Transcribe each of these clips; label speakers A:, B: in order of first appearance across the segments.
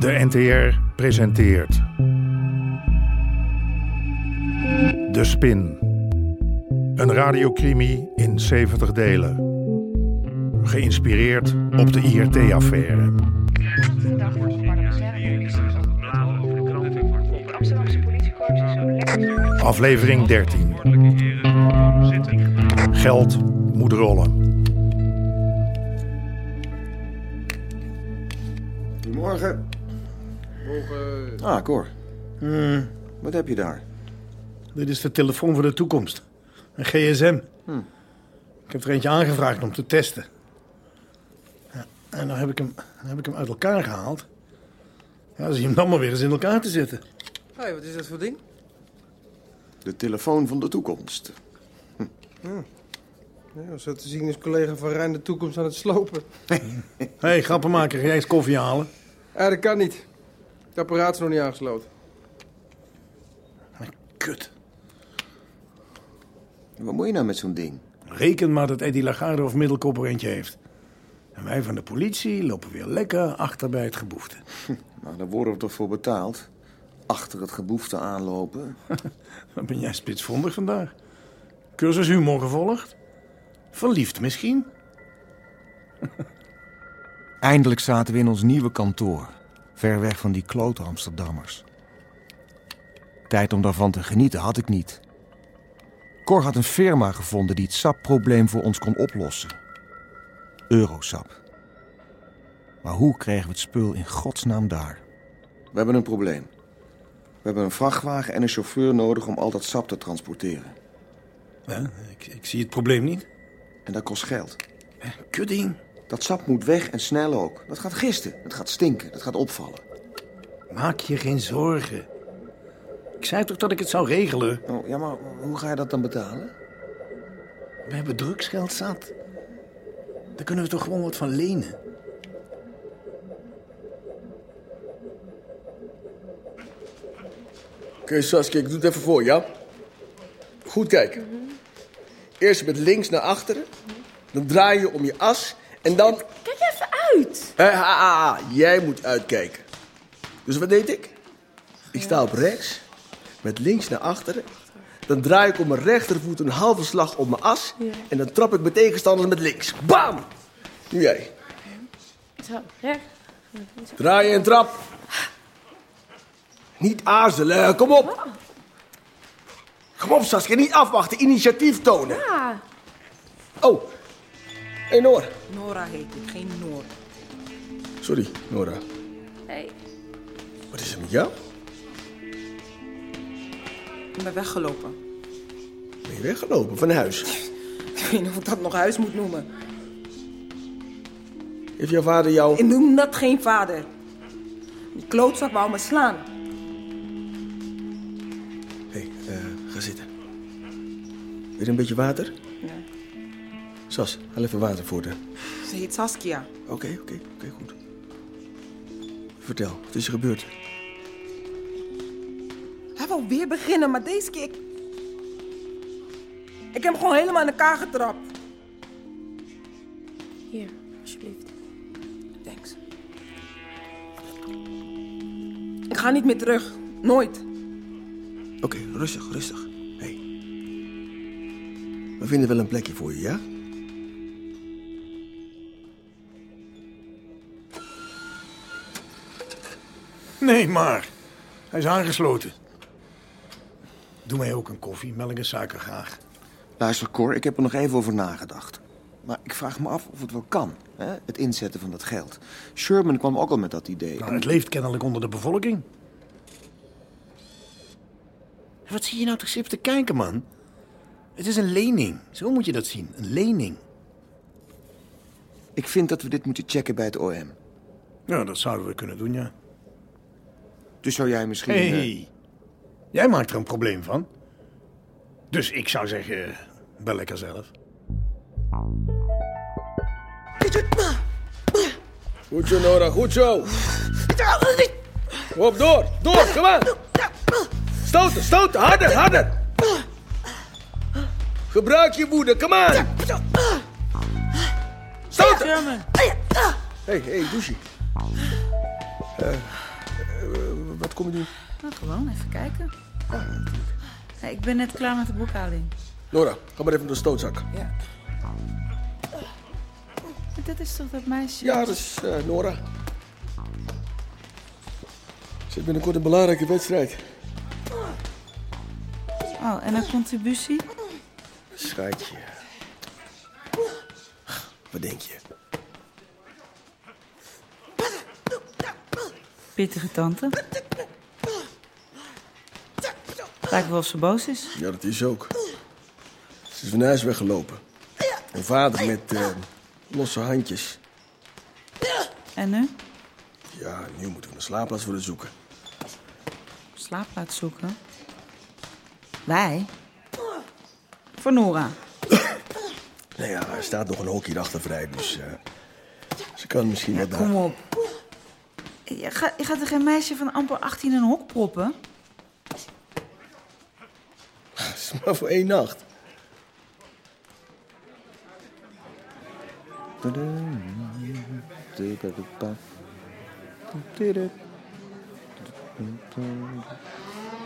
A: De NTR presenteert. De Spin. Een radiocrimi in 70 delen. Geïnspireerd op de IRT-affaire.
B: Dag wordt het maar De Amsterdamse politiekorps is zo lekker.
A: Aflevering 13. Geld moet rollen.
C: Goedemorgen. Morgen. Ah, Cor. Hmm, Wat heb je daar?
D: Dit is de telefoon voor de toekomst. Een gsm. Ik heb er eentje aangevraagd om te testen. Ja, en dan heb, ik hem, dan heb ik hem uit elkaar gehaald. Ja, zie je hem dan maar weer eens in elkaar te zetten.
E: Hé, wat is dat voor ding?
C: De telefoon van de toekomst.
E: Ja, zo te zien is collega van Rijn de toekomst aan het slopen.
D: Hé, hey, grappenmaker, ga jij eens koffie halen?
E: Ja, dat kan niet. Het apparaat is nog niet aangesloten.
D: Ah, Kut.
C: Wat moet je nou met zo'n ding?
D: Reken maar dat Eddie Lagarde of Middelkoper eentje heeft. En wij van de politie lopen weer lekker achter bij het geboefte.
C: Nou, daar worden we toch voor betaald? Achter het geboefte aanlopen.
D: Wat ben jij spitsvondig vandaag? Cursus humor gevolgd? Verliefd misschien?
F: Eindelijk zaten we in ons nieuwe kantoor. Ver weg van die klote Amsterdammers. Tijd om daarvan te genieten had ik niet. Cor had een firma gevonden die het sapprobleem voor ons kon oplossen. Eurosap. Maar hoe kregen we het spul in godsnaam daar?
C: We hebben een probleem. We hebben een vrachtwagen en een chauffeur nodig om al dat sap te transporteren.
D: Hè? ik, ik zie het probleem niet.
C: En dat kost geld.
D: Kudding.
C: Dat sap moet weg en snel ook. Dat gaat gisten. Het gaat stinken. Dat gaat opvallen.
D: Maak je geen zorgen. Ik zei toch dat ik het zou regelen?
C: Oh, ja, maar hoe ga je dat dan betalen?
D: We hebben drugsgeld zat. Daar kunnen we toch gewoon wat van lenen?
G: Oké, Saskia, ik doe het even voor, ja? Goed kijken. Eerst met links naar achteren. Dan draai je om je as. En dan...
H: Kijk even uit.
G: Hé, ha, ha, ha, jij moet uitkijken. Dus wat deed ik? Ik sta op rechts. Met links naar achteren. Dan draai ik om mijn rechtervoet een halve slag op mijn as. En dan trap ik mijn tegenstanders met links. Bam! Nu jij.
H: Zo, recht.
G: Draai en trap. Niet aarzelen, kom op. Kom op, Saskia, niet afwachten. Initiatief tonen.
H: Ja.
G: Oh, hey Noor.
I: Nora heet ik, geen Noor.
G: Sorry, Nora.
H: Hey.
G: Wat is er met jou?
I: Ik ben weggelopen.
G: Ben je weggelopen van huis?
I: Ik weet niet of ik dat nog huis moet noemen.
G: Heeft jouw vader jou...
I: En noem dat geen vader. Die klootzak wou me slaan.
G: Hé, hey, eh, ga zitten. Weer een beetje water?
I: Ja.
G: Sas, haal even water voor de...
I: Ze heet Saskia.
G: Oké, oké, oké, goed. Vertel, wat is er gebeurd?
I: Hij wou weer beginnen, maar deze keer... Ik, ik heb hem gewoon helemaal in elkaar getrapt.
H: Hier, alsjeblieft.
I: Thanks. Ik ga niet meer terug. Nooit.
G: Oké, rustig, rustig. Hé. Hey. We vinden wel een plekje voor je, ja?
D: Nee, maar. Hij is aangesloten. Doe mij ook een koffie, melk en suiker graag.
C: Luister, Cor, ik heb er nog even over nagedacht. Maar ik vraag me af of het wel kan, hè? het inzetten van dat geld. Sherman kwam ook al met dat idee.
D: Nou, het leeft kennelijk onder de bevolking. Wat zie je nou toch zitten te kijken, man? Het is een lening. Zo moet je dat zien. Een lening.
C: Ik vind dat we dit moeten checken bij het OM.
D: Ja, dat zouden we kunnen doen, ja.
C: Dus zou jij misschien...
D: Hé,
C: eh,
D: jij maakt er een probleem van. Dus ik zou zeggen, bel lekker zelf.
G: Goed zo, Nora, goed zo. Kom op, door, door, kom aan. Stoten, stoten, harder, harder. Gebruik je woede, kom aan. Stoten. Hé, hey, hé, hey, douche. Eh, kom je doen?
J: Nou, gewoon, even kijken. Nee, ik ben net klaar met de boekhouding.
G: Nora, ga maar even naar de stootzak.
J: Maar dat is toch dat meisje?
G: Ja, dat is eh, Nora. Zit binnenkort een belangrijke wedstrijd.
J: Oh, en een contributie?
G: Schatje. Wat denk je?
J: Pittige tante. Lijkt wel of ze boos is.
G: Ja, dat is ook. Ze is van huis weggelopen. Een vader met eh, losse handjes.
J: En nu?
G: Ja, nu moeten we een slaapplaats voor haar zoeken.
J: Slaapplaats zoeken. Wij? Voor Nora.
G: Nou ja, er staat nog een hokje achter vrij, dus eh, ze kan misschien wat
J: Kom op. Je gaat, je gaat er geen meisje van amper 18 in een hok proppen?
G: Dat is maar voor één nacht.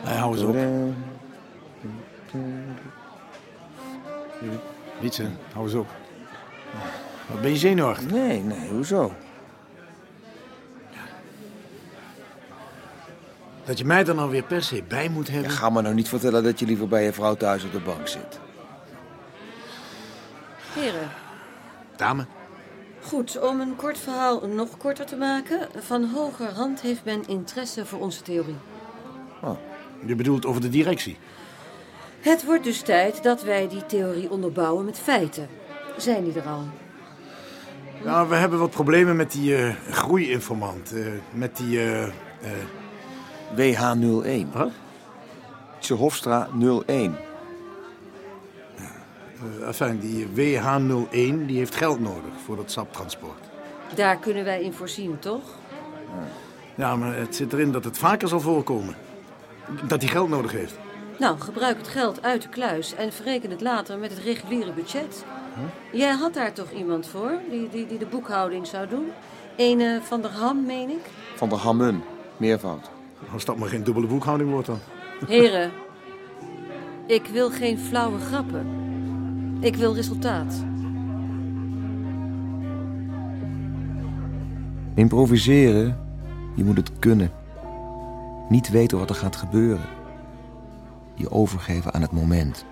D: Nee, hou eens op.
C: Eh,
D: Wietse, hou eens op. Wat ben je zenuwachtig?
C: Nee, nee, hoezo?
D: Dat je mij er nou weer per se bij moet hebben.
C: Ga me nou niet vertellen dat je liever bij je vrouw thuis op de bank zit.
K: Heren,
D: Dame.
K: goed, om een kort verhaal nog korter te maken. Van hoger hand heeft men interesse voor onze theorie.
D: Je bedoelt over de directie.
K: Het wordt dus tijd dat wij die theorie onderbouwen met feiten. Zijn die er al?
D: Nou, we hebben wat problemen met die eh, groeiinformant. eh, met die... eh, eh,
C: WH01.
D: Wat?
C: Tse Hofstra 01.
D: eh, enfin, die WH01, die heeft geld nodig voor dat saptransport.
K: Daar kunnen wij in voorzien, toch?
D: Ja, maar het zit erin dat het vaker zal voorkomen. Dat hij geld nodig heeft.
K: Nou, gebruik het geld uit de kluis en verreken het later met het reguliere budget. Jij had daar toch iemand voor die, die, die de boekhouding zou doen? Ene van der Ham, meen ik.
C: Van de Hammen. Meervoud.
D: Als dat maar geen dubbele boekhouding wordt dan.
K: Heren, ik wil geen flauwe grappen. Ik wil resultaat.
F: Improviseren, je moet het kunnen. Niet weten wat er gaat gebeuren. Je overgeven aan het moment.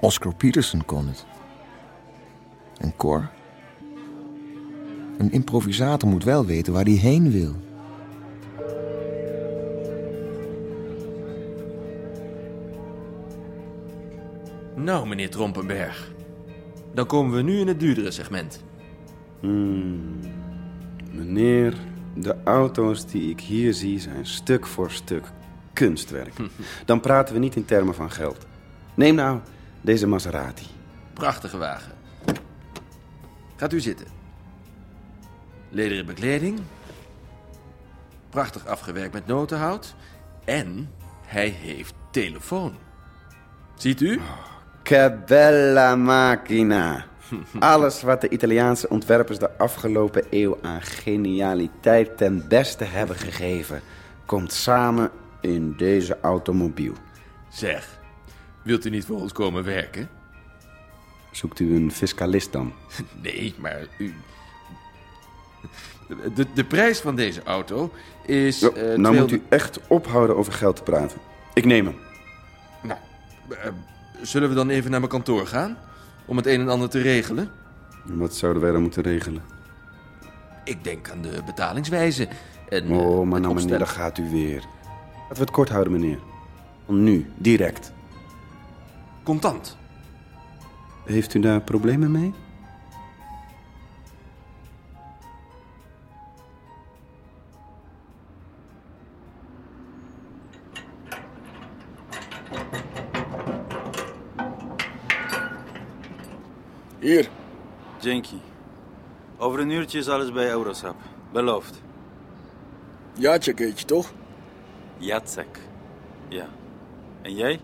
F: Oscar Peterson kon het. En Cor? Een improvisator moet wel weten waar hij heen wil.
L: Nou, meneer Trompenberg. Dan komen we nu in het duurdere segment.
M: Hmm. Meneer, de auto's die ik hier zie zijn stuk voor stuk kunstwerk. Dan praten we niet in termen van geld. Neem nou deze Maserati.
L: Prachtige wagen. Gaat u zitten. Lederen bekleding. Prachtig afgewerkt met notenhout. En hij heeft telefoon. Ziet u?
M: Oh, Che bella macchina. Alles wat de Italiaanse ontwerpers de afgelopen eeuw aan genialiteit ten beste hebben gegeven, komt samen in deze automobiel.
L: Zeg, wilt u niet voor ons komen werken?
M: Zoekt u een fiscalist dan?
L: Nee, maar u... De, de prijs van deze auto is...
M: Jo,
L: eh,
M: nou
L: 200
M: moet u echt ophouden over geld te praten. Ik neem hem.
L: Nou, eh, zullen we dan even naar mijn kantoor gaan? Om het een en ander te regelen?
M: En Wat zouden wij dan moeten regelen?
L: Ik denk aan de betalingswijze. En, eh,
M: Oh, maar
L: het
M: nou meneer,
L: opstellen.
M: daar gaat u weer. Laten we het kort houden, meneer. Nu, direct.
L: Contant.
M: Heeft u daar problemen mee?
N: Hier. Jenky. Over een uurtje is alles bij Eurosap. Beloofd.
G: Jaatje keetje, toch?
N: Jacek. Ja. En jij?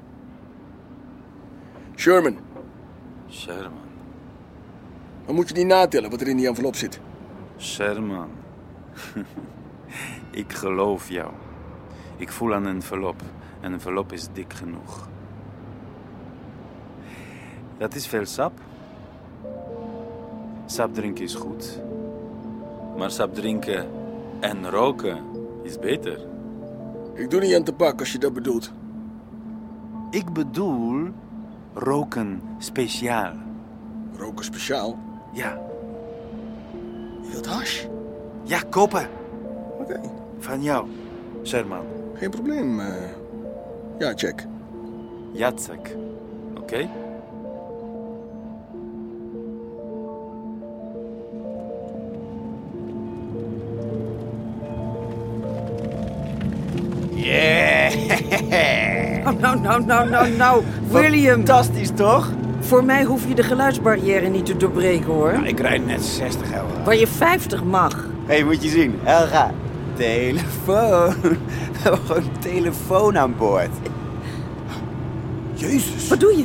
G: Sherman,
N: Sherman.
G: dan moet je niet natellen wat er in die envelop zit.
N: Sherman.
D: Ik geloof jou. Ik voel aan een envelop. Een envelop is dik genoeg. Dat is veel sap. Sap drinken is goed. Maar sap drinken en roken is beter.
O: Ik doe niet aan te pak als je dat bedoelt.
D: Ik bedoel roken speciaal. Roken speciaal? Ja.
O: Je wilt hash?
D: Ja, kopen. Oké. Van jou, Sherman.
O: Geen probleem. eh. Ja, check.
D: Jacek. Oké?
I: Yeah! Oh, nou, nou, nou, nou, nou. William. Fantastisch, toch? Voor mij hoef je de geluidsbarrière niet te doorbreken, hoor.
G: Ik rijd net 60 euro.
I: Waar je 50 mag.
G: Hé, hey, moet je zien. Helga, telefoon. We hebben gewoon telefoon aan boord. Jezus. Wat doe je?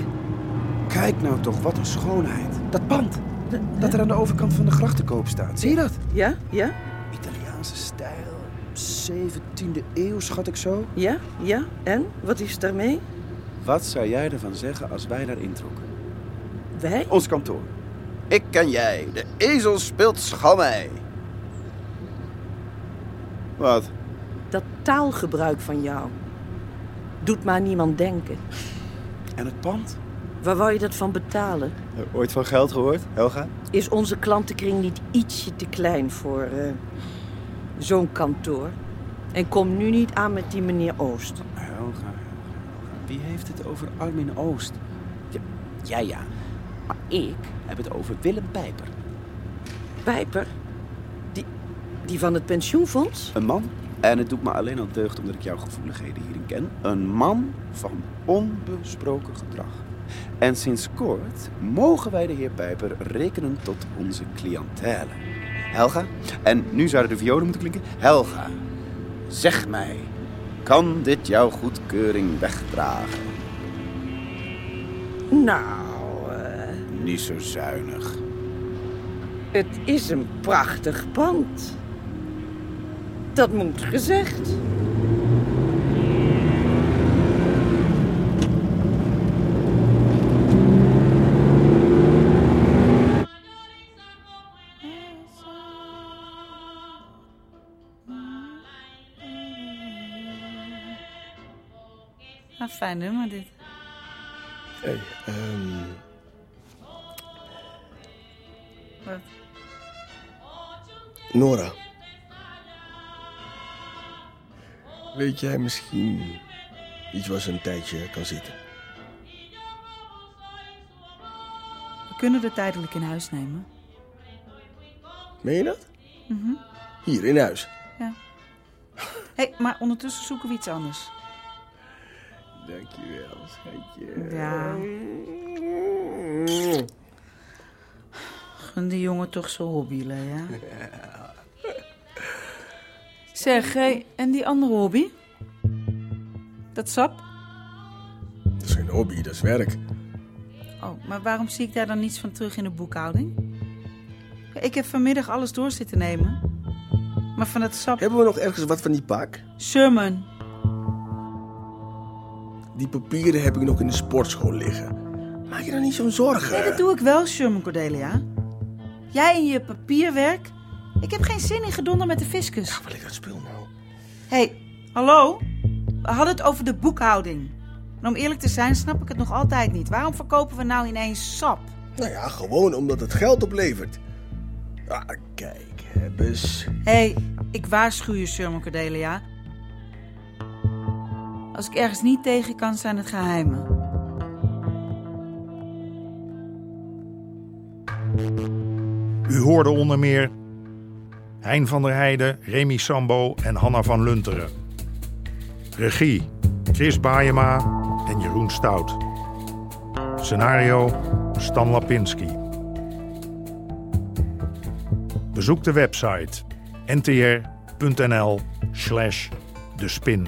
G: Kijk nou toch, wat een schoonheid. Dat pand. Dat er aan de overkant van de gracht te koop staat. Zie je dat?
I: Ja, ja,
G: Italiaanse stijl. 17e eeuw, schat ik zo.
I: ja, ja. En? Wat is daarmee?
G: Wat zou jij ervan zeggen als wij daar introkken?
I: Wij?
G: Ons kantoor. Ik ken jij. De ezel speelt schamei. Wat?
I: Dat taalgebruik van jou. Doet maar niemand denken.
G: En het pand?
I: Waar wou je dat van betalen?
G: Ooit van geld gehoord, Helga?
I: Is onze klantenkring niet ietsje te klein voor eh, zo'n kantoor? En kom nu niet aan met die meneer Oost.
G: Helga, wie heeft het over Armin Oost? Ja, ja, ja. Maar ik heb het over Willem Pijper.
I: Pijper? Die van het pensioenfonds?
G: Een man. En het doet me alleen al deugd omdat ik jouw gevoeligheden hierin ken. Een man van onbesproken gedrag. En sinds kort mogen wij de heer Pijper rekenen tot onze cliëntele. Helga, en nu zouden de violen moeten klinken. Helga, zeg mij, kan dit jouw goedkeuring wegdragen?
I: Nou, eh,
G: Niet zo zuinig.
I: het is een prachtig pand. Dat moet gezegd.
J: Een Ah, fijn nummer dit.
P: Hey, ehm,
J: Wat?
P: Nora. Weet jij misschien iets waar ze een tijdje kan zitten?
J: We kunnen er tijdelijk in huis nemen.
P: Meen je dat?
J: Mhm.
P: Hier in huis.
J: Ja. Hé, maar ondertussen zoeken we iets anders.
P: Dankjewel, schatje.
J: Ja. Gun die jongen toch zijn hobby, hè? Zeg, hé, en die andere hobby? Dat sap?
P: Dat is geen hobby, dat is werk.
J: Oh, maar waarom zie ik daar dan niets van terug in de boekhouding? Ik heb vanmiddag alles door zitten nemen. Maar van dat sap...
P: Hebben we nog ergens wat van die pak?
J: Sherman.
P: Die papieren heb ik nog in de sportschool liggen. Maak je daar niet zo'n zorgen.
J: Nee, dat doe ik wel, Sherman Cordelia. Jij en je papierwerk. Ik heb geen zin in gedonder met de fiscus. Ja,
P: wil ik dat spul nou?
J: Hé, hey, hallo? We hadden het over de boekhouding. En om eerlijk te zijn snap ik het nog altijd niet. Waarom verkopen we nou ineens sap?
P: Nou ja, gewoon omdat het geld oplevert. Ah, kijk, heb eens.
J: Hé, hey, ik waarschuw je, Sherman Cordelia. Als ik ergens niet tegen kan, zijn het geheimen.
A: U hoorde onder meer Hein van der Heijden, Remy Sambo en Hanna van Lunteren. Regie Chris Baayema en Jeroen Stout. Scenario Stan Lapinski. Bezoek de website ntr.nl slash de spin.